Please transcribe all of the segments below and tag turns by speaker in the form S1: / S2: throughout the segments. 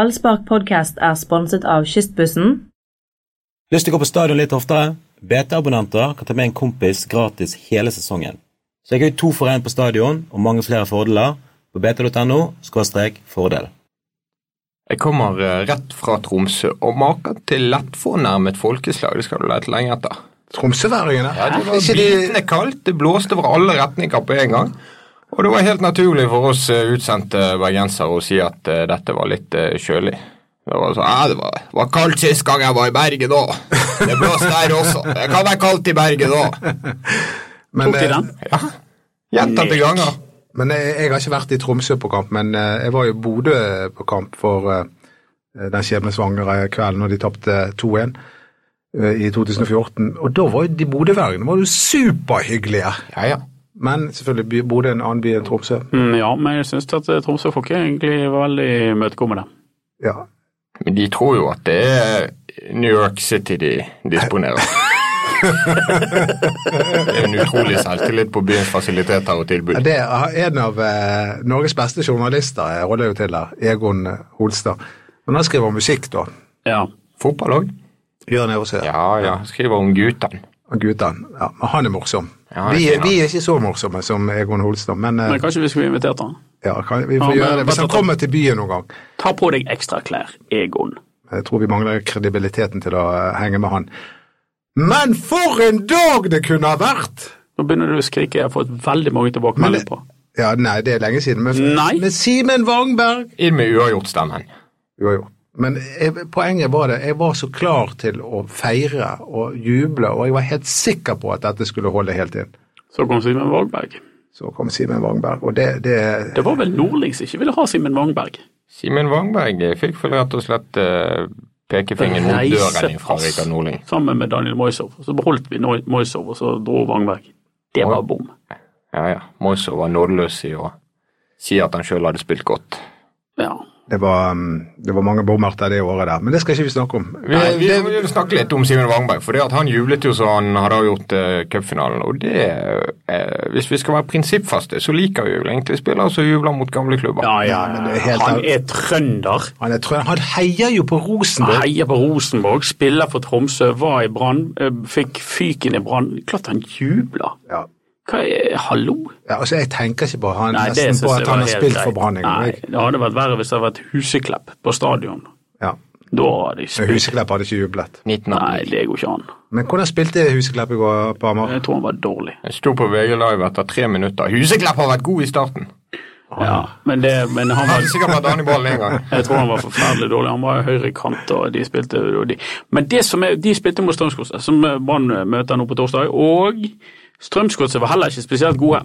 S1: Ballspark podcast er sponset av Kystbussen.
S2: Lyst til å gå på stadion litt oftere? BT-abonnenter kan ta med en kompis gratis hele sesongen. Så jeg har jo to for én på stadion og mange flere fordeler på bt.no fordel.
S3: Jeg kommer eh, rett fra Tromsø, og maken til lettfornærmet folkeslag det skal du lete lenge etter.
S4: Tromsøværingene?
S3: Ja, det var
S4: Ikke de-
S3: bitende kaldt, det blåste over alle retninger på en gang. Og det var helt naturlig for oss eh, utsendte bergensere å si at eh, dette var litt eh, kjølig. Det var, så, ja, det var, var kaldt sist gang jeg var i Bergen òg. Det blåste der også. Det kan være kaldt i Bergen òg.
S4: Men,
S5: Tok de
S4: eh,
S5: den?
S3: Gjentatte ganger.
S4: men jeg, jeg har ikke vært i Tromsø på kamp, men eh, jeg var i Bodø på kamp for eh, den skjebnesvangre kvelden når de tapte 2-1 eh, i 2014. Og da var jo de bodøværingene var jo superhyggelige.
S3: Ja, ja.
S4: Men selvfølgelig by- Bodø er en annen by enn Tromsø.
S5: Mm, ja, men jeg syns at eh, Tromsø folk er egentlig veldig imøtekommende.
S4: Ja.
S3: Men de tror jo at det er New York City de disponerer. det er en utrolig selvtillit på byens fasiliteter og tilbud.
S4: Ja, Det er en av eh, Norges beste journalister eh, jeg holder jo til der, Egon Holstad. Men han skriver musikk, da.
S5: Ja.
S3: Fotball òg?
S4: Gjør han det også?
S3: Ja, ja. Skriver om guttene.
S4: Og guttene. Ja, men han er morsom.
S3: Ja,
S4: vi,
S3: det er han.
S4: vi er ikke så morsomme som Egon Holstad, men, eh,
S5: Men kanskje vi skulle invitert han?
S4: ja, kan, vi får
S5: Ja, men-
S4: gjøre det. Hvis han kommer til byen noen gang.
S5: Ta på deg ekstra klær, Egon.
S4: Jeg tror vi mangler kredibiliteten til å eh, henge med han. Men for en dag det kunne ha vært!
S5: Nå begynner du å skrike, jeg har fått veldig mange tilbakemeldinger på.
S4: Ja, nei, det er lenge siden. Men,
S5: Nei.
S4: men Simen Wangberg
S3: Inn med uavgjortstemmen.
S4: Jo, jo. Men jeg, poenget var det, jeg var så klar til å feire og juble, og jeg var helt sikker på at dette skulle holde helt inn.
S5: Så kom Simen Wagberg.
S4: Så kom Simen Wangberg, og det, det
S5: Det var vel Nordlings ikke ville ha Simen Wangberg?
S3: Simen Wangberg fikk vel rett og slett eh, pekefingeren mot
S5: Reise
S3: døren fra
S5: oss.
S3: Rikard Nordling.
S5: Sammen med Daniel Moisov. Så beholdt vi Noi- Moisov, og så dro Wangberg. Det var bom.
S3: Ja, ja. Moiso var nådeløs i å si at han sjøl hadde spilt godt.
S5: Ja.
S4: Det var, um, det var mange bommerter det året der, men det skal ikke vi snakke om.
S3: Vi, vi, vi vil snakke litt om Simen Wangberg, for det at han jublet jo så han hadde gjort uh, cupfinalen. Og det eh, Hvis vi skal være prinsippfaste, så liker vi jo egentlig spillere som jubler mot gamle klubber.
S5: Ja, ja.
S4: Ja, men det er helt-
S5: Han er trønder.
S4: Han, er, trø- han heier jo på Rosenborg!
S5: Heier på Rosenborg, spiller for Tromsø, var i Brann, eh, fikk fyken i Brann. Klart han jubler.
S4: Ja.
S5: Hva er Hallo?
S4: Ja, altså, jeg tenker ikke på han
S5: Nei, det
S4: nesten
S5: synes
S4: på
S5: jeg
S4: at
S5: var
S4: han har
S5: helt
S4: spilt
S5: greit.
S4: for Brann en gang.
S5: Nei,
S4: jeg.
S5: det hadde vært verre hvis det hadde vært Huseklepp på stadion.
S4: Ja.
S5: Da hadde de
S4: Men
S5: spilt.
S4: Huseklepp hadde ikke jublet.
S3: 19
S5: Nei, det går ikke an.
S4: Men hvordan spilte Huseklepp i går, Pamar?
S5: Jeg tror han var dårlig.
S3: Jeg sto på VG Live etter tre minutter. Huseklepp har vært god i starten.
S5: Ja, men, det, men han
S3: Han
S5: var
S3: hadde sikkert vært an i ballen en gang.
S5: jeg tror han var forferdelig dårlig. Han var høyre kant, og de spilte og de. Men det som er, de spilte mot Strømsgodset, som Brann møter nå på torsdag. Og Strømsgodset var heller ikke spesielt gode.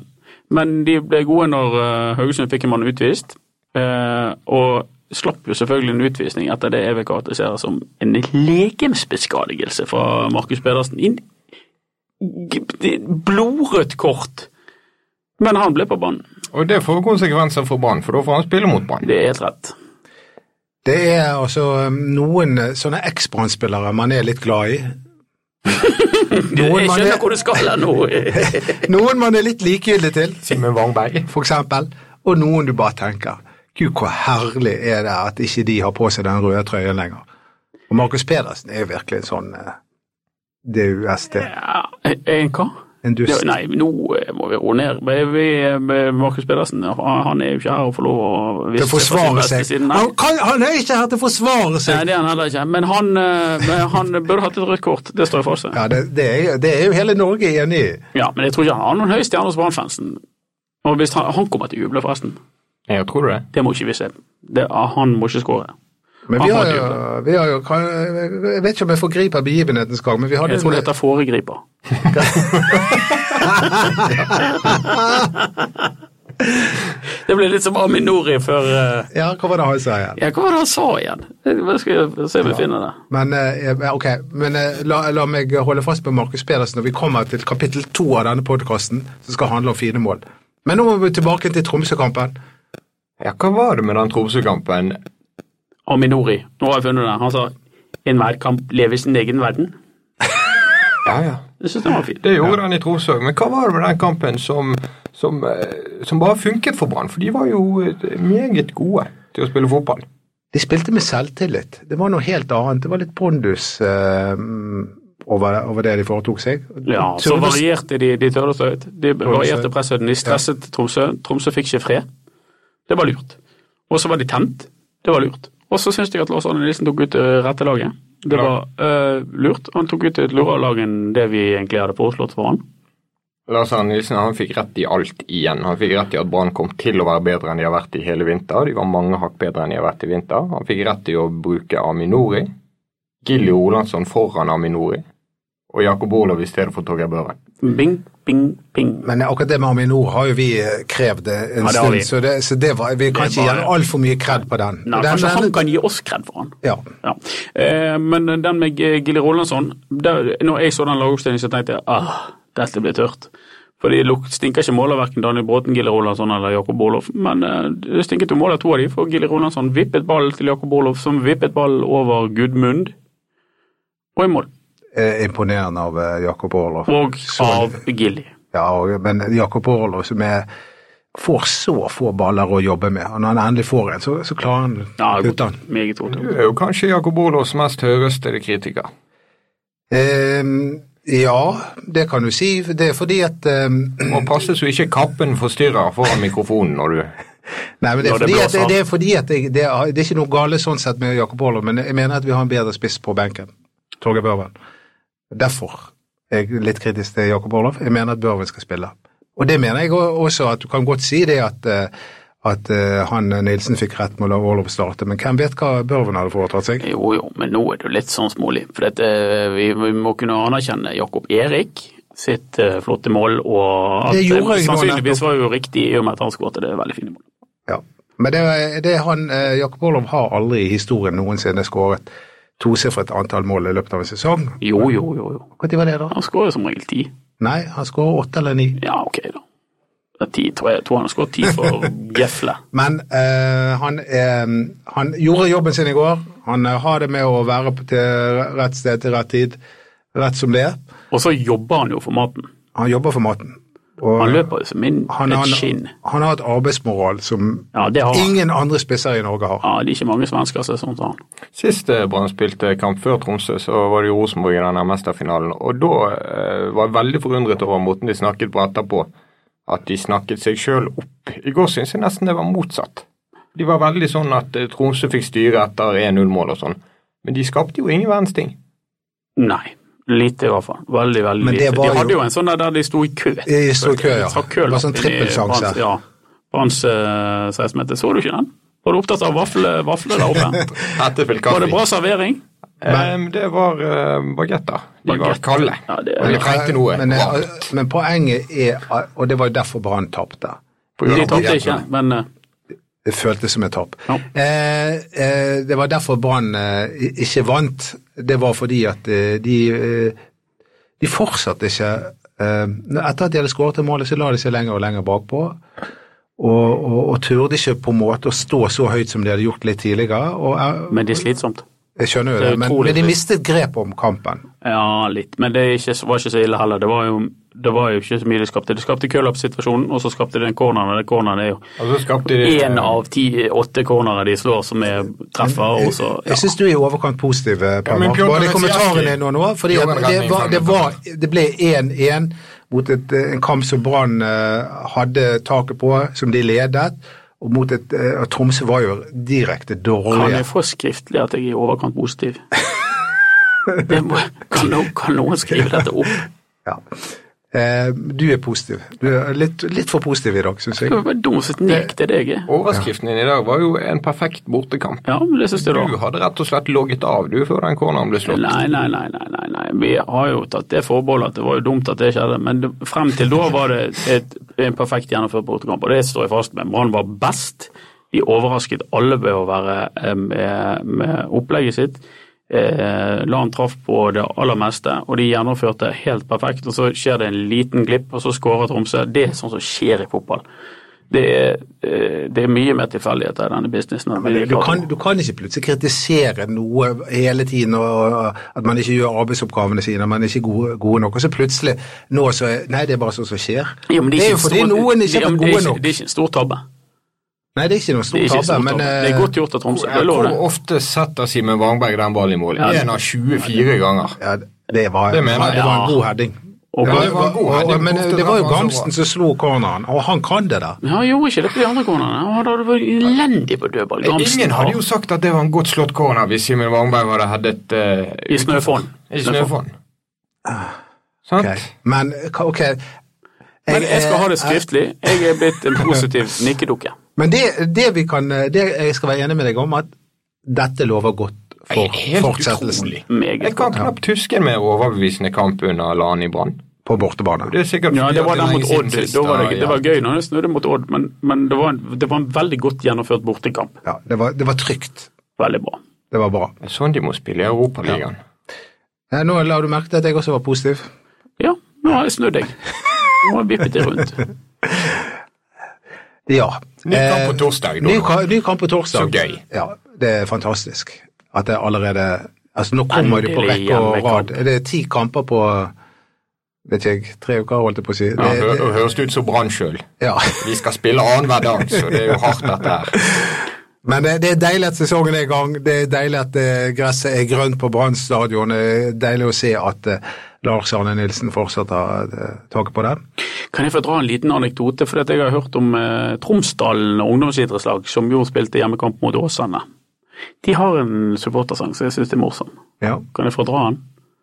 S5: Men de ble gode når eh, Haugesund fikk en mann utvist. eh, og slapp jo selvfølgelig en utvisning etter det jeg vil karakterisere som en legemsbeskadigelse fra Markus Pedersen. En g- blodrødt kort. Men han ble på banen.
S3: Og det får konsekvenser for Brann, for da får han spille mot Brann.
S5: Det er helt rett.
S4: Det er altså um, noen eh, sånne eks-Brann-spillere man er litt glad i. Noen
S5: Jeg
S4: man
S5: skjønner
S4: er,
S5: hvor du skal her nå.
S4: noen man er litt likegyldig til.
S3: Simen Wangberg.
S4: for eksempel, og noen du bare tenker Gud, hvor herlig er det at ikke de har på seg den røde trøyen lenger. Og Markus Pedersen er jo virkelig en sånn eh, DUST.
S5: Ja, en hva?
S4: En
S5: Ja,
S4: dust.
S5: nei, nå eh, må vi roe ned. Vi- vi- eh, Markus Pedersen han- han er jo ikke her og får lov å vise
S4: Til å
S5: fra sin
S4: forsvare
S5: beste
S4: seg.
S5: side. Nei.
S4: Han, kan, han er ikke her til å forsvare
S5: nei,
S4: seg!
S5: det er han heller ikke. Men han, eh, men han burde hatt et rødt kort. Det står jeg fast ved.
S4: Ja, det, det, er, det er jo hele Norge enig i.
S5: Ja, men jeg tror ikke han har noen høy stjerne hos Brann-fansen. Og hvis han, han kommer til å juble, forresten.
S3: Ja, tror du det?
S5: Det må ikke vi se. Det, han må ikke skåre.
S4: Men
S5: Han
S4: vi
S5: får
S4: har
S5: det
S4: jo, vi har jo kan, Jeg vet ikke om jeg forgriper begivenhetens gang, men vi hadde
S5: Jeg tror det heter foregriper. det ble litt som Aminori før eh,
S4: Ja, hva var det han sa igjen?
S5: Ja, hva var det han sa igjen? Jeg skal se om vi finner det.
S4: Men, eh, ja, ok, men eh, la, la meg holde fast på Markus Pedersen når vi kommer til kapittel to av denne podkasten, som skal handle om fine mål. Men nå må vi tilbake til Tromsø-kampen.
S3: Ja, hva var det med den Tromsø-kampen?
S5: Aminori. Nå har jeg funnet det. Han sa enhver kamp lever i sin egen verden.
S3: Ja, ja.
S5: Jeg syns den var fin.
S3: Det gjorde han i Tromsø, men hva var det med den kampen som, som, eh, som bare funket for Brann? For de var jo eh, meget gode til å spille fotball.
S4: De spilte med selvtillit. Det var noe helt annet. Det var litt pondus eh, over, over det de foretok seg.
S5: Ja, så
S4: Tørdes-
S5: varierte de, de tørdes ut. De varierte presshøyden. De stresset Tromsø. Tromsø fikk ikke fred. Det var lurt. Og så var de tent. Det var lurt. Og så syns jeg at Lars Arne Nilsen tok ut eh, rette laget. Det
S3: Ja.
S5: var eh, lurt. Han tok ut et lurere lag enn det vi egentlig hadde foreslått for han.
S3: Lars Arne Nilsen han fikk rett i alt igjen. Han fikk rett i at Brann kom til å være bedre enn de har vært i hele vinter. De var mange hakk bedre enn de har vært i vinter. Han fikk rett i å bruke Aminori. Gilly Olandsson foran Aminori. Og Jakob Olav i stedet for Torgeir Børen.
S5: Bing, bing, ping.
S4: Men akkurat det med Aminor har jo vi eh, krevd eh, en
S5: Ja, det har
S4: stund,
S5: vi.
S4: så, det, så det var, vi kan
S5: Det
S4: ikke
S5: var-
S4: gi altfor mye kred på den.
S5: Nei,
S4: den,
S5: kanskje
S4: den-
S5: han kan gi oss kred for han.
S4: ja.
S5: Ja. Eh, men den med G- Gilly Rolandsson der, Når jeg så den lagoppstillingen, så tenkte jeg ah, dette blir tørt. For det luk- stinker ikke mål av verken Daniel Bråten, Gilly Rolandsson eller Jakob Orlov. Men eh, det stinket jo mål av to av de, for Gilly Rolandsson vippet ballen til Jakob Orlov, som vippet ballen over Gudmund, og i mål.
S4: eh, imponerende av eh, Jakob Orlov.
S5: Og
S4: Så-
S5: av Gilly.
S4: Ja, og, men Jakob Orlov som er får så få baller å jobbe med, og når han endelig får en, så, så klarer han
S5: Ja,
S4: å kutte
S5: godt.
S4: den.
S5: Meget godt.
S3: Du er jo kanskje Jakob Olavs mest høyrøstede kritiker.
S4: Ehm, ja, det kan du si. Det er fordi at ehm,
S3: Må passe så ikke kappen forstyrrer foran mikrofonen når du
S4: Nei, men det er
S5: Når det
S4: fordi at,
S5: blåser.
S4: det, er fordi at jeg, det, er, det er ikke noe gale sånn sett med Jakob Orlov, men jeg mener at vi har en bedre spiss på benken. Torgeir Børven. Derfor er jeg litt kritisk til Jakob Orlov. Jeg mener at Børven skal spille. Og det mener jeg o- også at du kan godt si det at, eh, at eh, han eh, Nilsen fikk rett med å la Orlov starte, men hvem vet hva Børven hadde foretatt seg?
S5: Jo, jo, men nå er du litt sånn smålig. For dette, vi, vi må kunne anerkjenne Jakob Erik sitt eh, flotte mål, og at
S4: Det gjorde
S5: eh,
S4: jeg nå
S5: sannsynligvis
S4: nettopp.
S5: var jo riktig i og med at han skåret det veldig fine målet.
S4: Ja. Men det, er- det er han, eh, Jakob Orlov har aldri i historien noensinne skåret tosifret antall mål i løpet av en sesong.
S5: Jo, jo, jo. jo.
S4: Når var det, da?
S5: Han skårer jo som regel ti.
S4: Nei, han skårer åtte eller ni.
S5: Ja, ok, da. Det er ti, tror jeg. jeg tror han har skåret ti for Gefle.
S4: Men eh, han, eh, han gjorde jobben sin i går. Han eh, har det med å være på til rett sted til rett tid, rett som det er.
S5: Og så jobber han jo for maten.
S4: Han jobber for maten. Og
S5: Han løper jo som en,
S4: han,
S5: et
S4: han,
S5: skinn.
S4: han har et arbeidsmoral som
S5: Ja, det har han.
S4: ingen andre spisser i Norge har.
S5: Ja, det er ikke mange svensker som er sånn som han.
S3: Sist eh, Brann spilte kamp før Tromsø, så var det jo Rosenborg i denne mesterfinalen. Og da eh, var jeg veldig forundret over måten de snakket på etterpå. At de snakket seg sjøl opp. I går syns jeg nesten det var motsatt. De var veldig sånn at eh, Tromsø fikk styre etter 1-0-mål og sånn. Men de skapte jo ingen verdens ting.
S5: Nei. Lite, i hvert fall. Veldig, veldig
S4: Men det
S5: lite. De
S4: var
S5: hadde
S4: jo-
S5: jo en sånn der, der de sto i kø.
S4: I stor kø, ja.
S5: Trakk kølappen
S4: Det var sånn
S5: i
S4: trippelsjanse.
S5: Branns- Ja. Branns eh, 16-meter. Så du ikke den? Var du opptatt av vafler, vafler der oppe?
S3: Dette fikk
S5: Var det bra servering?
S3: Eh, det var eh, bagetter. De
S5: Baguette.
S3: var kalde.
S5: Ja, det
S3: Men de trengte noe.
S4: Men, eh,
S3: varmt.
S4: men poenget er, og det var jo derfor Brann tapte.
S3: På grunn
S5: De
S3: av
S5: tapte ikke,
S3: bagettene.
S5: men eh,
S4: Det føltes som et tap.
S5: Ja.
S4: Eh, eh, det var derfor Brann eh, i- ikke vant. Det var fordi at eh, de, eh, de fortsatte ikke eh, Etter at de hadde skåret det målet, så la de seg lenger og lenger bakpå. Og, og, og turde ikke på en måte å stå så høyt som de hadde gjort litt tidligere. Og jeg,
S5: men det er slitsomt.
S4: jeg skjønner jo
S5: det
S4: det,
S5: er
S4: men,
S5: utrolig
S4: men de
S5: slit.
S4: mistet grep om kampen.
S5: Ja, litt. Men det er ikke, var ikke så ille heller. Det var jo, det var jo ikke så mye de skapte. De skapte kølappsituasjonen, og så skapte de den corneren. og Den corneren er jo
S3: Og så skapte de
S5: én av ti åtte cornere de slår som er treffer, og så ja.
S4: Jeg syns du er i overkant positiv, eh, Per
S3: men
S4: Mark.
S3: Bjørn
S4: Var det
S3: Kåre
S4: kommentaren
S3: Sierski-
S4: din nå? nå? Fordi at
S3: Bjørn Kåre
S4: det, var,
S3: Sierski-
S4: det, var, det ble 1-1 mot et, eh, en kamp som Brann eh, hadde taket på, som de ledet. Og mot et, eh, og Tromsø var jo direkte
S5: Kan
S4: dårlige.
S5: jeg få skriftlig at jeg er i overkant positiv? Det må, kan, noen, kan noen skrive dette opp?
S4: Ja. Eh, Du er positiv. Du er litt, litt for positiv i dag, syns
S5: Det
S4: jeg.
S5: var dummeste nek til deg. jeg.
S3: Overskriften din i dag var jo en perfekt bortekamp.
S5: Ja, men det syns jeg da.
S3: Du hadde rett og slett logget av du før den corneren ble slått.
S5: Nei, nei, nei, nei, nei, nei. Vi har jo tatt det forbeholdet at det var jo dumt at det skjedde, men det, frem til da var det et, en perfekt gjennomført bortekamp, og det står jeg fast med. Brann var best. De overrasket alle ved å være eh, med, med opplegget sitt. Eh, Lan traff på det aller meste, og de gjennomførte helt perfekt. Og så skjer det en liten glipp, og så skårer Tromsø. Det er sånt som skjer i fotball. Det er, eh, det er mye mer tilfeldigheter i denne businessen. enn vi
S4: Du
S5: klarte.
S4: kan, du kan ikke plutselig kritisere noe hele tiden, og, og at man ikke gjør arbeidsoppgavene sine, man er ikke gode, gode nok. Og så plutselig nå så er Nei, det er bare sånn som skjer.
S5: Jo, men
S4: det er
S5: ikke
S4: jo
S5: en
S4: fordi
S5: stor-
S4: noen ikke
S5: Ja,
S4: har
S5: men
S4: vært
S5: det er
S4: gode
S5: ikke-
S4: nok.
S5: Det er ikke en stor tabbe.
S4: Nei, det er ikke noen
S5: Det er
S4: stor
S5: ikke
S4: tabbe,
S5: stort
S4: men
S5: tap.
S4: eh,
S5: Det er godt gjort av Tromsø. Det er lov, det.
S3: Hvor ofte setter Simen Wangberg den ballen i mål?
S5: Ja.
S3: Én av 24 ganger.
S4: ja, det, var,
S3: Det
S4: det,
S3: mener
S4: var,
S3: jeg.
S4: det var en
S5: Ja.
S4: god heading.
S5: Og-
S4: Det var,
S3: Det var en god
S4: og- og-
S3: heading.
S4: men eh,
S3: Ofte
S4: det var
S3: treffer han
S4: jo
S3: så
S4: Gamsten
S3: bra.
S4: som slo corneren, og han kan det der.
S5: Ja, han gjorde ikke det på de andre cornerne. Han hadde vært elendig på dødball. Gamsen
S3: Eh, Ingen hadde
S5: har-
S3: jo sagt at det var en godt slått corner hvis Simen Wangberg hadde headet eh,
S5: I snøfonn.
S3: i snøfonn. Sant?
S4: Ok, Men hva- ok jeg,
S5: Men jeg skal ha det
S4: eh,
S5: skriftlig. Jeg er blitt en positiv nikkedukke.
S4: Men det, det vi kan eh, Det jeg skal være enig med deg om, at dette lover godt for
S3: Nei, helt
S4: fortsettelsen
S3: utrolig. Jeg
S5: Meget
S3: kan
S5: godt.
S3: knapt huske en mer overbevisende kamp under Lan i Brann.
S4: på bortebane.
S3: Det er sikkert
S5: Ja,
S3: fordi
S5: det
S3: at
S5: var den
S3: er
S5: mot
S3: lenge siden
S5: Odd.
S3: sist,
S5: Da var
S3: da,
S5: det, det
S3: ja.
S5: var gøy når det snødde mot Odd, men, men det, var en, det var en veldig godt gjennomført bortekamp.
S4: Ja, det, var, det var trygt.
S5: Veldig bra.
S4: Det var bra.
S3: Det er Sånn de må spille i Europaligaen.
S4: Eh, Nå la du merke til at jeg også var positiv.
S5: Ja, nå har jeg snudd deg. Nå har jeg vippet det rundt.
S4: Ja.
S3: Ny kamp på
S4: Eh,
S3: torsdag, da.
S4: Ny, ka- ny kamp på torsdag.
S3: Så gøy.
S4: Ja, det er fantastisk. At det allerede Altså, nå kommer det på
S5: Endelig
S4: rekke og
S5: hjemmekamp.
S4: rad. Det er ti kamper på vet ikke jeg, tre uker, holdt jeg på å si.
S3: Ja,
S4: Det-
S3: hø
S4: det-
S3: høres det ut som Brann sjøl.
S4: ja.
S3: Vi skal spille annenhver dag, så det er jo hardt, dette her.
S4: Men det, det er deilig at sesongen er i gang. Det er deilig at eh, gresset er grønt på Brann stadion. Det er deilig å se at eh, Lars Arne Nilsen fortsatt har eh, taket på det.
S5: Kan jeg få dra en liten anekdote? For jeg har hørt om eh, Tromsdalen ungdomsidrettslag, som jo spilte hjemmekamp mot Åsane. De har en supportersang som jeg syns er morsom.
S4: Ja.
S5: Kan jeg få dra den?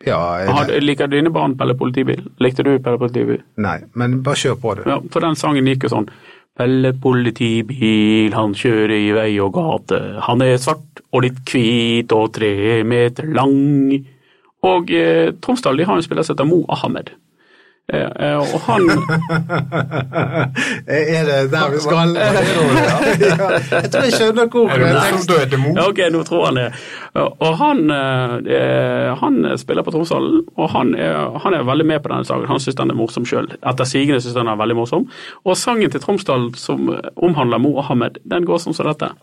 S4: ja
S5: Har,
S4: eh,
S5: liker dine barn Pelle Politibil? Likte du Pelle Politibil?
S4: nei, men bare kjør på, du.
S5: Ja, for den sangen gikk jo sånn. Pelle politibil, han kjører i vei og gate. Han er svart og litt hvit og tre meter lang. Og eh, Tromsdal de har en spiller som heter Mo Ahmed. Eh, eh, og han
S4: Er det der vi skal? ja, jeg tror jeg skjønner hvor
S3: Er du
S4: eh,
S3: nær døde mor?
S5: Ja, ok, nå tror han det. Og han, eh, han spiller på Tromsdalen, og han er, han er veldig med på denne sangen. Han syns den er morsom sjøl. Etter sigende syns han er veldig morsom. Og sangen til Tromsdalen som omhandler Mo Ahmed, den går som så dette.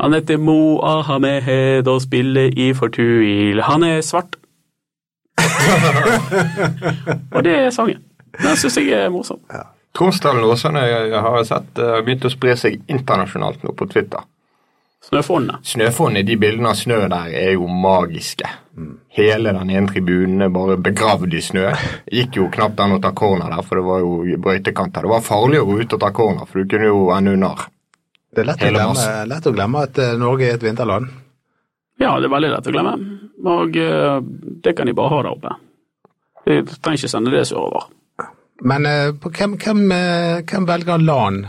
S5: Han heter Mo Ahmed og spiller i Fortuil. Han er svart. og det er sangen. Den syns jeg er morsom.
S3: Tromsdalen og Åsane jeg har jeg sett eh, har begynt å spre seg internasjonalt nå på Twitter.
S5: Snøfonnet.
S3: Snøfonnet, de bildene av snø der, er jo magiske. Hele den ene tribunen er bare begravd i snø. Gikk jo knapt an å ta corner der, for det var jo brøytekanter. Det var farlig å gå ut og ta corner, for du kunne jo ende under.
S4: Det er lett å,
S3: Hele
S4: glemme,
S3: masse.
S4: lett å glemme at eh, Norge er et vinterland.
S5: Ja, det er veldig lett å glemme. Og eh, det kan de bare ha der oppe. De trenger ikke sende det sørover.
S4: Men eh, på, hvem, hvem, eh, hvem velger LAN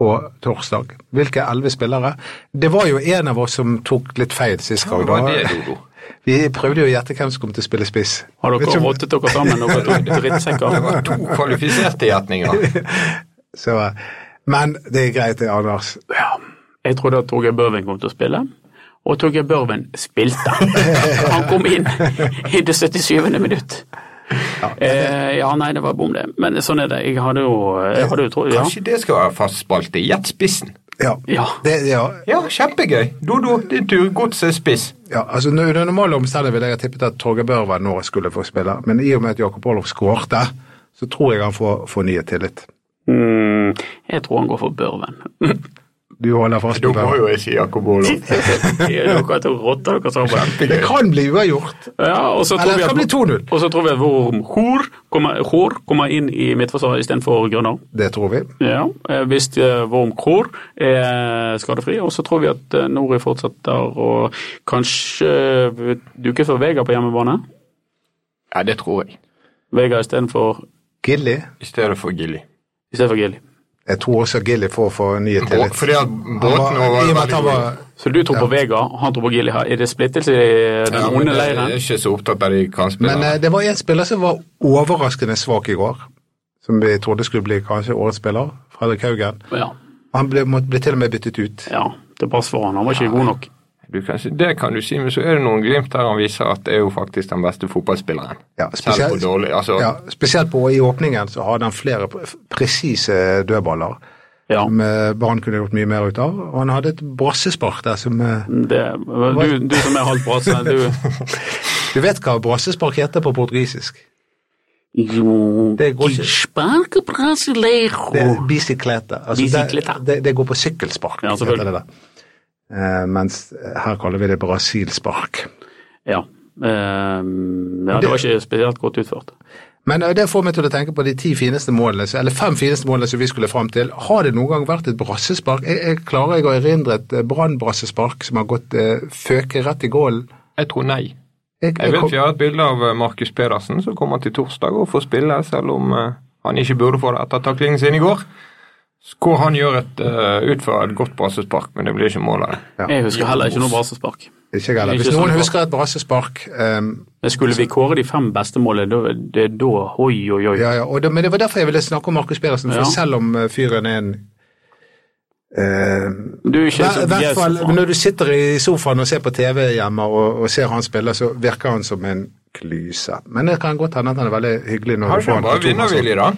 S4: på torsdag? Hvilke elleve spillere? Det var jo en av oss som tok litt feil sist gang.
S3: Hva
S4: da.
S3: var det, Dodo?
S4: Vi prøvde jo å gjette hvem som kom til å spille spiss.
S5: Har
S4: Vet
S5: dere
S4: ikke om-
S5: rottet dere sammen, dere
S3: Det
S5: drittsekker?
S3: var to kvalifiserte gjetninger.
S4: Så, eh, men det er greit, det, Anders.
S5: Jeg trodde at Torgeir Børven kom til å spille, og Torgeir Børven spilte. Han kom inn i det 77. minutt. Eh, ja, nei, det var bom, det. Men sånn er det. Jeg hadde jo, jeg hadde jo trodd ja.
S3: Kanskje det skal være fast spalte? Gjett spissen.
S4: Ja.
S5: Ja.
S4: Det, ja,
S3: Ja, kjempegøy. Dodo, din tur. Godset spiss.
S4: ja, altså Under normale omstendigheter ville jeg ha tippet at Torgeir Børven nå skulle få spille, men i og med at Jakob Olov skårte, så tror jeg han får fornyet tillit.
S5: Mm, jeg tror han går for Børven.
S4: Du holder fast
S3: Da
S4: på
S3: må
S4: Børven.
S3: jo jeg si Jakob Olof.
S5: Dere to rotter dere sammen.
S4: Det kan bli uavgjort.
S5: Ja, og så tror
S4: Eller
S5: vi
S4: det
S5: at-
S4: kan bli 2-0.
S5: Og så tror vi at Worm Hor kommer, Hor kommer inn i midtforsvaret istedenfor Grønner.
S4: Det tror vi.
S5: Ja, eh, hvis eh, Worm Hor er skadefri. Og så tror vi at eh, Nori fortsetter å kanskje eh, duke for Vega på hjemmebane.
S3: Ja, det tror jeg.
S5: Vega istedenfor
S4: Gilly.
S3: I stedet for Gilly.
S5: istedenfor Gilly.
S4: Jeg tror også Gilly får fornyet tillit.
S3: Fordi at
S4: Han
S3: båten
S4: var- i og med at han
S3: veldig
S4: var,
S5: Så du tror på Vega, han tror på Gilly her. Er det splittelse i den
S3: Ja, men
S5: onde
S3: jeg- Jeg
S5: leiren?
S3: er ikke så opptatt av de
S4: men
S3: kantspillerne.
S4: eh, det var en spiller som var overraskende svak i går, som vi trodde skulle bli kanskje årets spiller. Fredrik Haugen.
S5: Ja.
S4: Han ble, måtte, ble til og med byttet ut.
S5: ja. Det passer for han, han var ikke god nok.
S3: Du kan, si- det kan du si, men så er det noen glimt her han viser at det er jo faktisk den beste fotballspilleren.
S4: Ja,
S3: Selv på
S4: spesielt,
S3: dårlig altså,
S4: ja, spesielt på, i åpningen så hadde han flere pre- presise dødballer
S5: Ja.
S4: som eh, Brann kunne gjort mye mer ut av. Og han hadde et brassespark der som eh,
S5: Det, du, du som er halvt brasse, du
S4: Du vet hva brassespark heter på portugisisk?
S5: Jo,
S4: Det går ikke.
S5: de sparker brasileiro.
S4: Det er bisiklete. Altså,
S5: Oh. Bisiklete.
S4: Det, det, det går på sykkelspark.
S5: Ja, selvfølgelig.
S4: heter det der. Eh, mens her kaller vi det brasilspark.
S5: Ja. ehm, ja, det var ikke spesielt godt utført.
S4: Men eh, det får meg til å tenke på de ti fineste målene, så- eller fem fineste målene som vi skulle fram til. Har det noen gang vært et brassespark? Jeg, jeg klarer jeg å erindre et eh, brannbrassespark som har gått eh, føke rett i gålen?
S3: Jeg tror nei.
S4: Jeg,
S3: Jeg vet
S4: kom-
S3: vi har et bilde av eh, Markus Pedersen som kommer til torsdag og får spille, selv om eh, han ikke burde få det etter taklingen sin i går. Hvor han gjør et, eh, utfører et godt brassespark, men det blir ikke mål av det.
S4: Ja.
S5: Jeg husker heller ikke noe brasespark.
S4: Ikke jeg heller.
S5: Ikke
S4: Hvis
S5: sånn
S4: noen
S5: bra.
S4: husker et brassespark ehm,
S5: Men skulle vi kåre de fem beste målene, da- det er da oi, oi, oi.
S4: ja, ja, og det, Men det var derfor jeg ville snakke om Markus Pedersen, for
S5: Ja.
S4: selv om eh, fyren er en ehm,
S5: Du er ikke
S4: Hver,
S5: så
S4: hvert fall,
S5: Yes, faen.
S4: Når du sitter i sofaen og ser på TV hjemme og, og ser han spille, så virker han som en klyse. Men det kan godt hende at han er veldig hyggelig når
S3: Har
S4: du får
S3: ikke
S4: han
S3: han bare
S4: på altså. to personer.
S3: vinnervilje, da?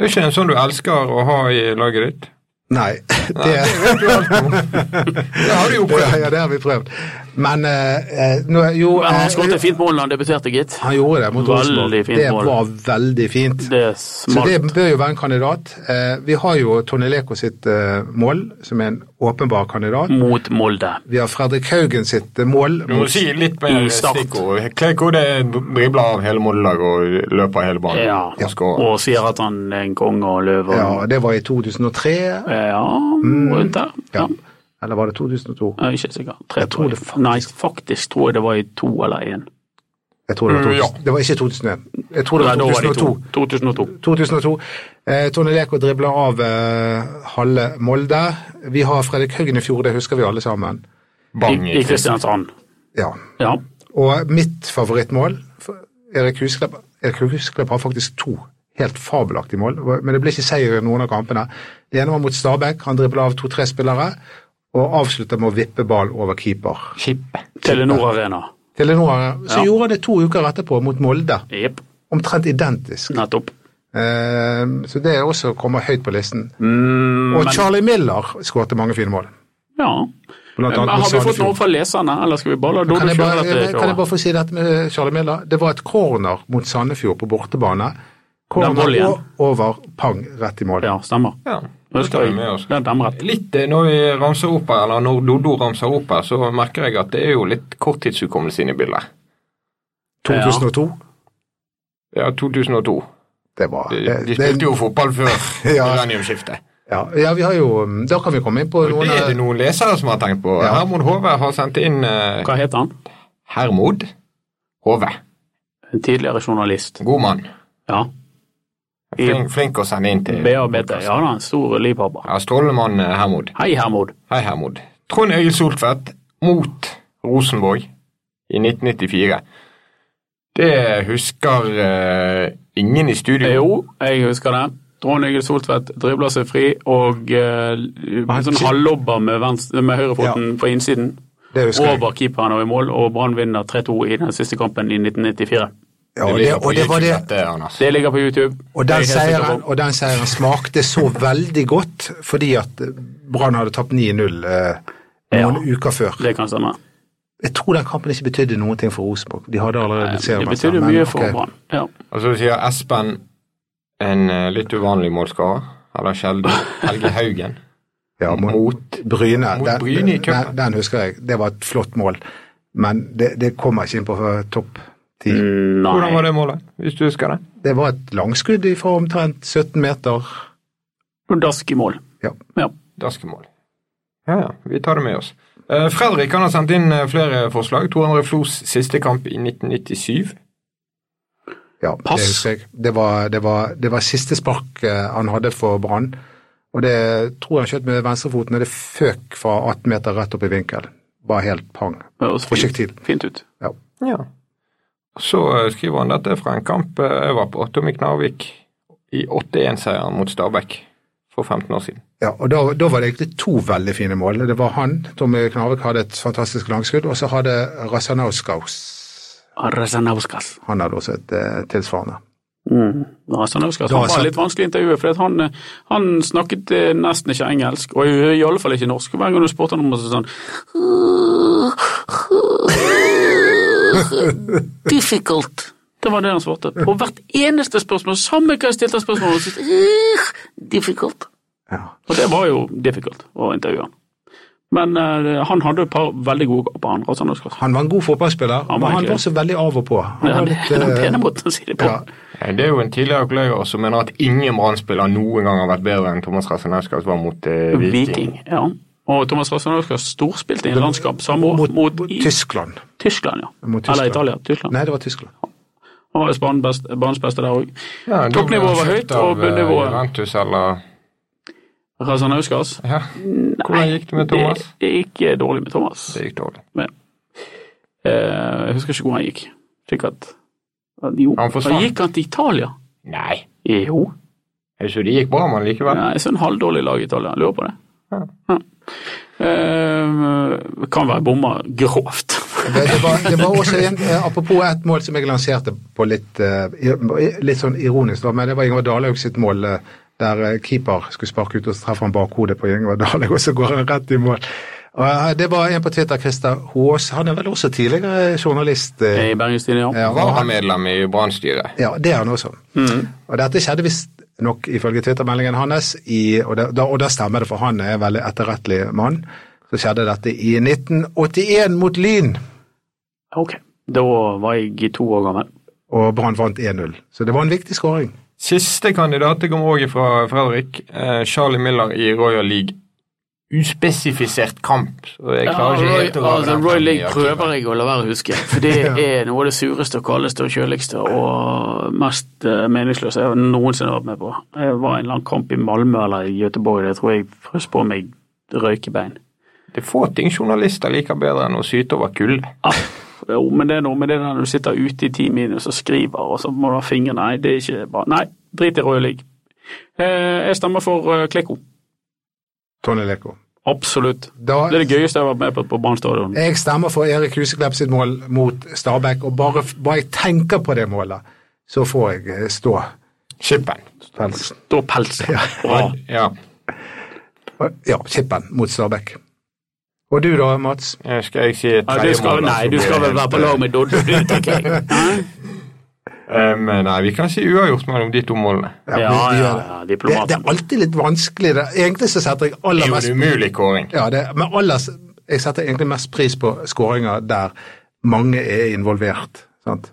S3: Det er ikke en sånn du elsker å ha i laget ditt?
S4: Nei, det,
S3: Det har du jo
S4: det,
S3: prøvd.
S4: ja, det har vi prøvd. Men eh, eh, nå, jo
S5: Men
S4: eh,
S5: han skåret et fint mål da han debuterte, gitt.
S4: han gjorde det mot
S5: Veldig
S4: Rosenborg.
S5: fint
S4: Det
S5: mål.
S4: var veldig fint.
S5: Det er
S4: Så det
S5: smalt.
S4: bør jo være en kandidat. Eh, vi har jo Tony Leko sitt eh, mål, som er en åpenbar kandidat.
S5: Mot Molde.
S4: Vi har Fredrik Haugen sitt eh, mål.
S3: Du må si litt mer
S5: I start.
S3: stikkord. Kleko det dribler av hele mållaget og løper hele banen.
S5: Ja.
S3: Og skårer.
S5: Og sier at han er en konge og løve.
S4: Ja, Mm.
S5: og-
S4: det var i 2003,
S5: Ja, rundt der. Ja.
S4: eller var det 2002?
S5: Jeg er ikke sikker. Tre,
S4: Jeg tror det
S5: faktisk. Nei, faktisk tror jeg det var i to eller én.
S4: Jeg tror det var,
S3: Mm,
S4: 2000. det var ikke 2001. Jeg tror det var
S5: Nei, da var det i
S4: 2002.
S5: 2002.
S4: 2002. Eh, Tony Leko dribler av eh, halve Molde. Vi har Fredrik Haugen i fjor, det husker vi alle sammen.
S3: Bang
S5: I,
S3: i
S5: I Kristiansand.
S4: Ja.
S5: Ja.
S4: Og mitt favorittmål for Erik Husklepp, Erik Husklepp har faktisk to helt fabelaktige mål, men det ble ikke seier i noen av kampene. Det ene var mot Stabæk, han driblet av to-tre spillere og avsluttet med å vippe ball over keeper.
S3: Skippe.
S5: Telenor Arena.
S4: Telenor, eh, så
S5: Ja.
S4: gjorde han det to uker etterpå mot Molde,
S5: Jepp.
S4: omtrent identisk.
S5: Nettopp.
S4: Eh, så det er også kommer høyt på listen.
S5: Mm,
S3: Mm.
S4: og Charlie Miller skårte mange fine mål.
S5: Ja.
S4: Blant
S5: Men
S4: annet
S5: har
S4: mot
S5: vi fått
S4: Sandefjord.
S5: noe fra leserne, eller skal vi bare la Dodo
S4: Kan jeg,
S5: kjøre
S4: bare,
S5: dette?
S4: kan jeg bare
S5: showet?
S4: få si eh, dette med Charlie Miller? Det var et corner mot Sandefjord på bortebane. Corner
S5: volley igjen.
S4: o- over pang rett i mål.
S5: Ja, stemmer.
S3: Ja, det
S5: Husker
S3: tar vi
S5: jeg.
S3: med oss.
S5: Det er demret.
S3: Litt eh, når vi ramser opp her, eller når Dodo ramser opp her, så merker jeg at det er jo litt korttidshukommelse inne i bildet.
S4: 2002.
S3: Ja, 2002.
S4: Det var
S3: De,
S4: det,
S3: de
S4: Eh, det,
S3: spilte jo fotball før
S4: Ja.
S3: millenniumsskiftet.
S4: ja, ja, vi har jo mm, Da kan vi komme inn på
S3: Det
S4: noen
S3: er det
S4: av
S3: noen lesere som har tenkt på.
S4: Ja.
S3: Hermod Hove har sendt inn eh,
S5: Hva het han?
S3: Hermod Hove.
S5: En tidligere journalist.
S3: God mann.
S5: Ja. I
S3: Flink, flink å sende inn til
S5: BABT. Ja da, en stor livhabber.
S3: Ja, Strålende mann, eh, Hermod.
S5: Hei, Hermod.
S3: Hei, Hermod. Trond Egil Soltvedt mot Rosenborg i 1994. Det husker eh, ingen i studio.
S5: Jo, jeg husker det. Trond Egil Soltvedt dribler seg fri og eh, sånn halvlobber med, venstre- med høyrefoten på innsiden.
S4: Det husker jeg.
S5: Over keeperen og i mål, og Brann vinner 3-2 i den siste kampen i 1994.
S4: ja,
S3: Det
S4: og, det,
S3: ligger på
S4: og det var
S3: YouTube,
S4: det.
S3: dette, Anders.
S5: Det ligger på YouTube.
S4: Og
S5: Det er
S4: den,
S5: jeg helt sikker
S4: seieren,
S5: på.
S4: og den seieren smakte så veldig godt fordi at eh, Brann hadde tapt 9-0 eh, noen
S5: Ja.
S4: uker før.
S5: Det kan stemme.
S4: Jeg tror den kampen ikke betydde noen ting for Rosenborg. De hadde allerede blitt
S5: Det
S4: seriemestere.
S5: betydde
S4: men
S5: mye for
S4: ok. Mm.
S5: Brann. Ja.
S3: Og så sier Espen en eh, litt uvanlig målskårer. Eller sjelden. Helge Haugen.
S4: Ja, mot,
S3: Mot-
S4: Bryne.
S3: mot
S4: den,
S3: Bryne i cupen.
S4: Den, den husker jeg. Det var et flott mål. Men det, det kommer ikke inn på eh, topp ti.
S3: Mm. Hvordan var
S5: Nei.
S3: det målet, hvis du husker det?
S4: Det var et langskudd fra omtrent 17 meter.
S5: Dask i mål.
S4: Ja.
S5: Ja.
S3: Daskemål. Ja, ja. Vi tar det med oss. Eh, Fredrik han har sendt inn eh, flere forslag. 200 Flos siste kamp i 1997.
S4: ja
S5: Pass.
S4: Det, husker jeg. Det, var, det, var, det var siste spark eh, han hadde for Brann. Og det tror jeg han skjøt med venstrefoten, og det føk fra 18 meter rett opp i vinkel. Bare helt pang.
S5: Høres
S4: Prosjektil.
S5: fint, fint ut.
S4: Ja.
S3: Ja. Så eh, skriver han dette fra en kamp eh, jeg var på, Tommy Knarvik, i 8-1-seieren mot Stabæk for 15 år siden.
S4: Ja, og da, da var det egentlig to veldig fine mål. Det var han, Tommy Knarvik, hadde et fantastisk langskudd, og så hadde Razanauskas
S5: Razanauskas.
S4: Han hadde også et eh, tilsvarende.
S5: Mm. Razanauskas.
S4: Da
S5: Han
S4: satt-
S5: var litt vanskelig å intervjue, for at han, eh, han snakket eh, nesten ikke engelsk, og i, i alle fall ikke norsk. Hver gang du spurte han om det, så sa han Difficult. Det var det han svarte. På hvert eneste spørsmål. Samme hva jeg stilte spørsmål om. så sier han, «Ugh, Difficult.
S4: Ja.
S5: Og det var jo difficult å intervjue han. Men eh, han hadde et par veldig gode kamper, han Rasan Oskar.
S4: Han var en god fotballspiller,
S5: var
S4: men han
S5: egentlig-
S4: var så veldig av og på. Han
S5: Det
S4: var
S5: er
S4: litt,
S5: den
S4: eh,
S5: pene måten å si det på.
S4: ja.
S3: Eh, Det er jo en tidligere kollega som mener at ingen Brann-spiller noen gang har vært bedre enn Thomas Rasenhauskas var mot eh, Viking.
S5: Viking. ja. Og Thomas Rasan Oskar storspilte i en landskamp samme år
S4: mot,
S5: mot,
S4: mot
S5: i-
S4: Tyskland.
S5: Tyskland. ja.
S4: Mot Tyskland.
S5: Eller Italia. Tyskland.
S4: Nei, det var Tyskland.
S5: Han var banens beste, banens beste der òg.
S3: Ja, da ble han
S5: Toppnivået var
S3: kjøpt
S5: høyt, og
S3: av, eh,
S5: bunnivået
S3: Juventus eller
S5: Rasan Auskas.
S3: ja. Hvordan gikk det med Thomas?
S5: Det gikk eh, dårlig med Thomas.
S3: Det gikk dårlig.
S5: Men, eh, jeg husker ikke hvor han gikk. Sikkert at- Jo,
S3: Han forsvant.
S5: gikk han til Italia?
S3: Nei,
S5: Jo.
S3: jeg synes det gikk bra, men likevel.
S5: Nei, så en halvdårlig lag i Italia. Lurer på det.
S3: Ja.
S5: Ja. Eh, kan være bomma grovt.
S4: Det, det, var, det var også en, eh, Apropos et mål som jeg lanserte på litt, eh, i- litt sånn ironisk, da, men det var Ingvar Dalhaug sitt mål eh, der eh, keeper skulle sparke ut, og så treffer han bakhodet på Ingvar Dalhaug, og så går han rett i mål. Og, eh, det var en på Twitter, Christer Haas, han er vel også tidligere journalist. eh,
S5: I Bergens Tidende, ja.
S4: ja, og
S3: Var
S4: han-
S3: han medlem i Brann-styret?
S4: ja, det er han også.
S5: Mm.
S4: Og dette skjedde visst nok ifølge Twitter-meldingen hans, i, og, da, da- og da stemmer det, for han er en veldig etterrettelig mann. Så skjedde dette i 1981 mot Lyn,
S5: Ok. Da var jeg to år gammel.
S4: og Brann vant 1-0. Så det var en viktig skåring.
S3: Siste kandidat det kommer også fra Fredrik. Eh, Charlie Miller i Royal League. Uspesifisert kamp. så Jeg klarer ikke
S5: Roy,
S3: helt å grave
S5: altså,
S3: den
S5: Roy
S3: frem i
S5: League
S3: arkivet.
S5: prøver jeg å la være å huske, for det er noe av det sureste og kaldeste og kjøligste og mest eh, meningsløse jeg noensinne har vært med på. Det var en lang kamp i Malmö eller i Göteborg, det tror jeg frøs på meg røykebein.
S3: Det er få ting journalister liker bedre enn å syte over kulde.
S5: Ah, jo, men det er noe med det der når du sitter ute i ti minus og skriver, og så må du ha fingre Nei, det er ikke bra. Nei, drit i Royal League. Eh, jeg stemmer for eh, Klikko.
S4: Tony Leko.
S5: Absolutt.
S4: Da,
S5: Det er det gøyeste jeg har vært med på på Brann stadion.
S4: jeg stemmer for Erik Huseklepp sitt mål mot Stabæk, og bare, bare jeg tenker på det målet, så får jeg eh, stå
S3: Skippen.
S4: pelsen.
S5: Da pelser jeg. Bra.
S3: Ja.
S4: Og- Ja, kippen mot Stabæk. Og du da, Mats?
S3: Eh, Skal jeg si et
S5: Ja, du skal,
S3: tredjemål, da, så
S5: nei, du
S3: blir
S5: skal
S3: det
S5: vel være
S3: helt,
S5: på lag med Doddo, du, tenker jeg.
S3: eh, men Nei, vi kan si uavgjort mellom de to målene.
S5: Ja,
S4: vi-
S5: ja,
S4: vi
S5: ja,
S4: gjør det. Det, det
S5: diplomaten.
S4: er alltid litt vanskelig. Det. Egentlig så setter jeg
S3: Det
S4: aller
S3: er jo
S4: mest
S3: en umulig kåring.
S4: ja, det, Men aller, jeg setter egentlig mest pris på skåringer der mange er involvert. Sant?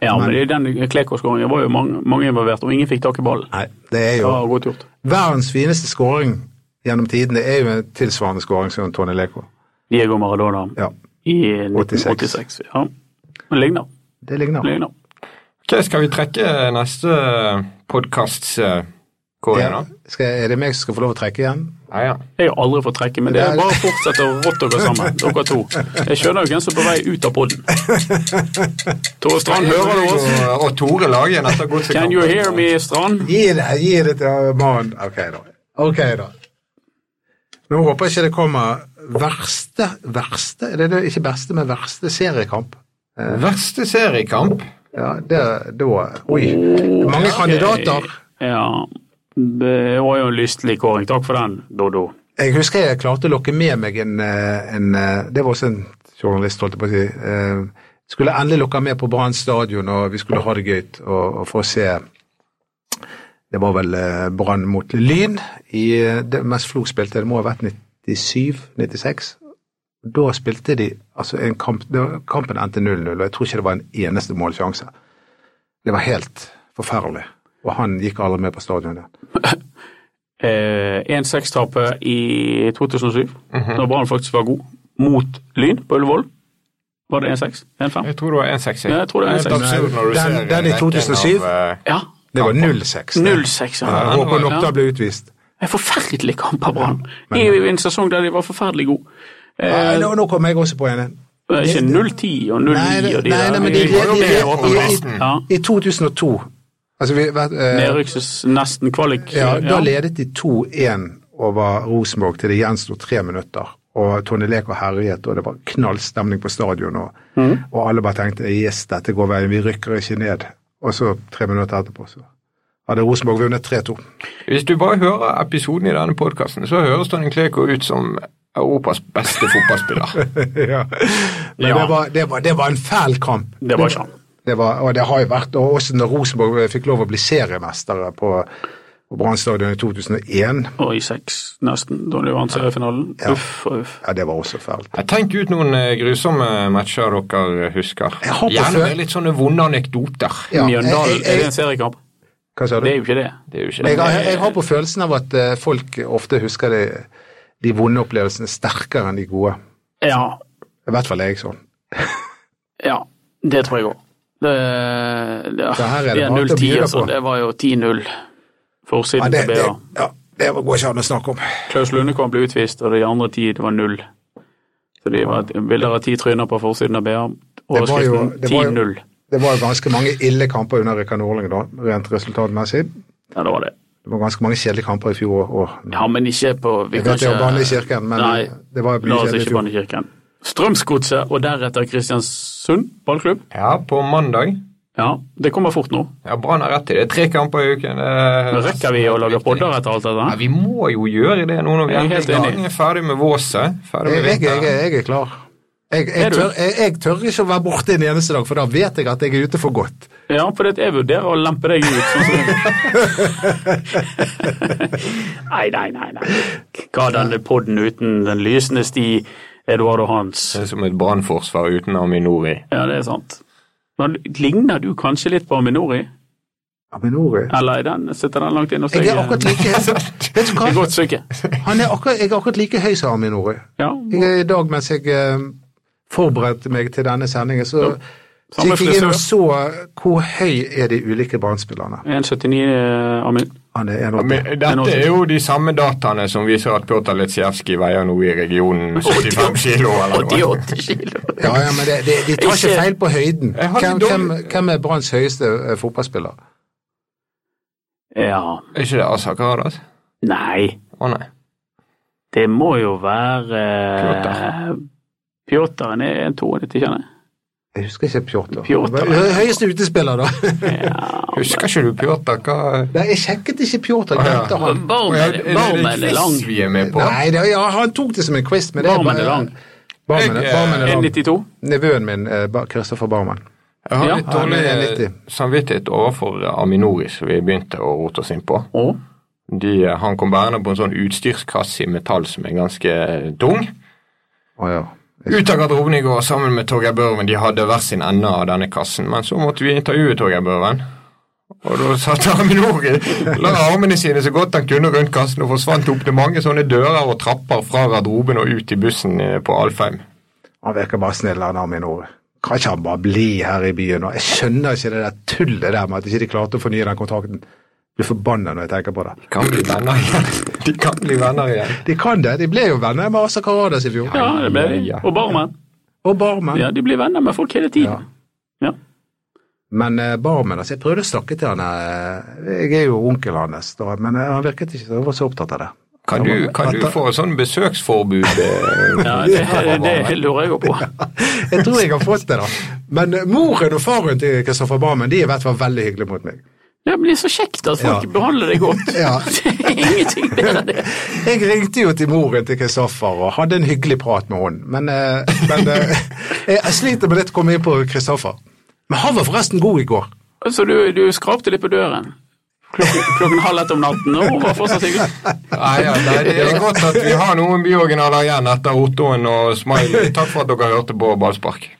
S5: Ja, men i den Kleko-skåringen var jo mange, mange involvert, og ingen fikk tak i ballen.
S4: Nei, det er
S5: Det
S4: jo
S5: var godt gjort.
S4: Verdens fineste skåring gjennom tidene er jo en tilsvarende skåring som Tony Leko.
S5: Diego Maradona
S4: Ja,
S5: i 1986. Ja. Men ligner.
S4: det ligner.
S5: ligner.
S3: Ok, Skal vi trekke neste podkasts eh, kåring,
S4: Ja,
S3: da?
S4: skal, er det meg som skal få lov å trekke igjen?
S3: Ja, ja.
S5: Jeg har aldri fått trekke, men det er bare å fortsette å rotte dere sammen, dere to. Jeg skjønner jo hvem som er på vei ut av poden. Tore Strand, hører du oss?
S3: Og, og Tore Lagen etter
S5: Can
S3: godsekampen.
S5: you hear me, Strand?
S4: Gi det, gi det til mannen. Ok, da. Ok, da. Nå håper jeg ikke det kommer verste, verste, det er det ikke beste, men verste seriekamp.
S3: Verste seriekamp?
S4: Ja, det, Ah, da, oi, det er mange kandidater.
S5: Ja, det var jo en lystelig kåring. Takk for den, Doddo.
S4: Jeg husker jeg klarte å lokke med meg en, eh, en eh, Det var også en journalist, holdt jeg på å si. eh, Skulle endelig lokke med på Brann stadion, og vi skulle ha det gøy og, og få se Det var vel eh, Brann mot Lyn. I eh, det mest Flo spilte, det må ha vært 97-96. Da spilte de altså en kamp det var- Kampen endte 0-0, og jeg tror ikke det var en eneste målsjanse. Det var helt forferdelig. Og han gikk aldri med på stadion igjen.
S5: Eh, 1-6-tapet i 2007,
S4: Mhm.
S5: når Brann faktisk var god, mot Lyn på Ullevål. Var det 1-6? 1-5?
S3: Jeg tror det var 1,60.
S5: Ja, jeg tror det er 1,60.
S3: Helt absurd når du
S4: Den-
S3: ser
S4: den i
S3: rekken av,
S4: 2007.
S3: eh,
S5: Ja,
S4: Det var 0-6. det.
S5: 0-6.
S4: Ja,
S5: Ja.
S4: Jeg håper nok da ble utvist.
S5: En forferdelig kamp av Brann. I i en sesong der de var forferdelig gode.
S4: Nei, nå, nå kommer jeg også på en.
S5: Eh, Ikke 0-10 og 0-9
S4: Nei, det-
S5: og de
S4: nei,
S5: der.
S4: nei, men de-
S5: Det var jo
S4: de-
S5: det
S4: de-
S5: åpenbart.
S3: de-
S5: Ja.
S4: I 2002 altså vi, vet, eh,
S5: Nedrykses nesten kvalik.
S4: ja, Da
S5: ja.
S4: ledet de 2-1 over Rosenborg til det gjensto tre minutter. Og Tony Leko herjet, og det var knallstemning på stadion. Og,
S5: Mm.
S4: og alle bare tenkte yes, dette går veien, vi rykker ikke ned. Og så tre minutter etterpå så hadde Rosenborg vunnet 3-2.
S3: Hvis du bare hører episoden i denne podkasten, så høres Tony Kleko ut som Europas beste fotballspiller.
S4: ja. Men
S5: Ja.
S4: Det, var, det, var, det var en fæl kamp.
S5: Det var ikke han.
S4: Det var, og det har jo vært, og også når Rosenborg eh, fikk lov å bli seriemestere på, på Brann stadion i 2001,
S5: Og i seks, nesten, da de vant seriefinalen.
S4: Ja.
S5: Uff og uff.
S4: ja, det var også fælt.
S3: Jeg Tenk ut noen eh, grusomme matcher dere husker.
S4: Jeg har på
S3: Gjerne
S4: før-
S3: med litt sånne vonde anekdoter.
S4: Ja, jeg-
S5: Mjøndalen, er
S4: jeg-
S5: det en seriekamp?
S4: Hva sa du?
S5: Det er jo ikke det.
S3: Det er jo ikke
S4: Jeg, har- jeg har på følelsen av at eh, folk ofte husker de, de vonde opplevelsene sterkere enn de gode.
S5: Ja,
S4: I hvert fall er jeg sånn.
S5: ja. Det tror jeg òg. Det, det,
S4: Så her er det
S5: det er
S4: bare å
S5: 0-10,
S4: bjuda
S5: altså.
S4: på.
S5: Det var jo 10-0.
S4: Ja,
S5: Forsiden
S4: det,
S5: til
S4: det,
S5: BA.
S4: ja, det går ikke an å snakke om.
S5: Klaus Lundekvam ble utvist, og de andre ti, det var null. Så de var bilder av ti tryner på forsiden av BA. Overskriften
S4: det var jo-
S5: 10-0.
S4: Det var jo ganske mange ille kamper under Rikard Norling, da, rent resultatmessig.
S5: Ja, det var det.
S4: Det var ganske mange kjedelige kamper i fjor òg.
S5: Ja, men ikke på vi
S4: Jeg
S5: kan
S4: vet det
S5: ikke-
S4: var vanlig i kirken, men
S5: Nei,
S4: det var jo
S5: la oss
S4: kjedelig i
S5: ikke
S4: fjor.
S5: banne i kirken. Strømsgodset, og deretter Kristiansund ballklubb.
S3: Ja, på mandag.
S5: Ja, det kommer fort nå.
S3: Ja, Brann har rett til det. Tre kamper i uken. det-
S5: Men rekker vi å lage podder etter alt
S3: Ja,
S5: dette?
S3: Vi må jo gjøre det nå når vi
S5: Jeg er
S3: endelig
S5: helt enig.
S3: gang er ferdig med våset. Ferdig
S4: Jeg,
S3: med
S4: jeg, jeg,
S3: vinteren.
S4: jeg er klar. Jeg,
S5: Er
S4: jeg,
S5: du?
S4: tør, jeg, jeg tør ikke å være borte en eneste dag, for da vet jeg at jeg er ute for godt.
S5: Ja, for jeg vurderer å lempe deg ut. Sånn som nei, nei, nei, nei. Hva denne podden uten den lysende sti, Eduardo Hans?
S3: Det er som et brannforsvar uten Aminori.
S5: Ja, det er sant. Men ligner du kanskje litt på Aminori?
S4: Aminori.
S5: Eller er den, sitter den langt inne hos deg?
S4: Jeg er akkurat like Vet du
S5: Et
S4: hva?
S5: godt stykke.
S4: Han er akkurat, jeg er akkurat like høy som Aminori.
S5: Ja,
S4: Jeg er I dag mens jeg eh, forberedte meg til denne sendingen, så
S5: Samme
S4: gikk jeg inn
S5: frisør.
S4: og så eh, hvor høy er de ulike brannspillerne.
S5: 1,79 eh, Amin.
S4: Han er
S3: Ja,
S4: 1,80.
S3: Men dette er jo de samme dataene som viser at Pjotr Litsjevskij veier nå i regionen 75 kilo, eller noe.
S5: 88 kilo.
S4: Ja, ja, men det, det, de tar ikke
S5: Ikke-
S4: feil på høyden.
S3: Jeg hadde
S4: Hvem, hvem,
S3: dårlig-
S4: hvem er Branns høyeste eh, fotballspiller?
S5: Ja,
S3: Er ikke det Asak Radas?
S5: nei,
S3: Å nei.
S5: det må jo være eh, Pjotr er 1,92, kjenner jeg.
S4: Jeg husker ikke Pjotr.
S5: Pjotr.
S4: Hø- Høyeste utespiller, da.
S3: Husker ikke du Pjotr? Hva
S4: Nei, jeg sjekket ikke Pjotr. Glemte han.
S5: Barmen
S3: Er det-
S5: er, barmen er lang.
S3: quiz vi er med på?
S4: Nei, det, ja, han tok det som en quiz, men det
S5: Barmen er lang.
S4: Barmen,
S3: Jeg,
S4: er-
S3: eh,
S4: barmen er lang.
S5: 1,92.
S4: Nevøen min, eh, Ba- Kristoffer Barmen.
S3: Jeg har
S5: Ja,
S3: litt
S4: han
S3: dårlig
S4: er
S3: eh,
S4: 90.
S3: samvittighet overfor Aminori, som vi begynte å rote oss inn på.
S5: Og
S3: De, eh, han kom bærende på en sånn utstyrskasse i metall som er ganske eh, tung.
S4: Å ja.
S3: Ut av garderoben i går sammen med Torgeir Børven. De hadde hver sin ende av denne kassen, men så måtte vi intervjue Torgeir Børven. Og da satt Aminori, la armene sine så godt han kunne rundt kassen og forsvant opp til mange sånne dører og trapper fra garderoben og ut i bussen eh, på Alfheim.
S4: Han virker bare snill, han Aminor. Kan ikke han bare bli her i byen? nå? Jeg skjønner ikke det der tullet der med at ikke de klarte å fornye den kontrakten. Jeg Blir forbanna når jeg tenker på det.
S3: Kan bli venner igjen. De kan bli venner igjen.
S4: De kan det. De ble jo venner med Asa Karadas i fjor.
S5: ja, det ble de.
S3: Ja, ja.
S5: Og barmen.
S4: Og Barmen.
S5: Ja, de blir venner med folk hele tiden. Ja.
S4: Men eh, Barmen altså, Jeg prøvde å snakke til han. eh, Jeg er jo onkelen hans, da, men eh, han virket ikke så, han var så opptatt av det.
S3: Kan du, kan du få sånn besøksforbud? eh,
S5: Ja, det, det lurer jeg jo på.
S4: Jeg tror jeg har fått det, da. Men eh, moren og faren til Kristoffer Barmen de er i hvert fall veldig hyggelige mot meg.
S5: Ja, men det er så kjekt at folk
S4: Ja.
S5: behandler deg godt.
S4: Ja.
S5: Det er ingenting bedre enn det.
S4: Jeg ringte jo til moren til Kristoffer og hadde en hyggelig prat med henne, men, eh, men eh, jeg, jeg sliter med litt å komme inn på Kristoffer. Men han var forresten god i går.
S5: Så du, du skrapte litt på døren klokken, klokken halv ett om natten, og hun var fortsatt hyggelig.
S3: Nei, ja, nei, det er godt at vi har noen bioriginaler igjen etter Ottoen og Smiley. Takk for at dere hørte på Ballspark.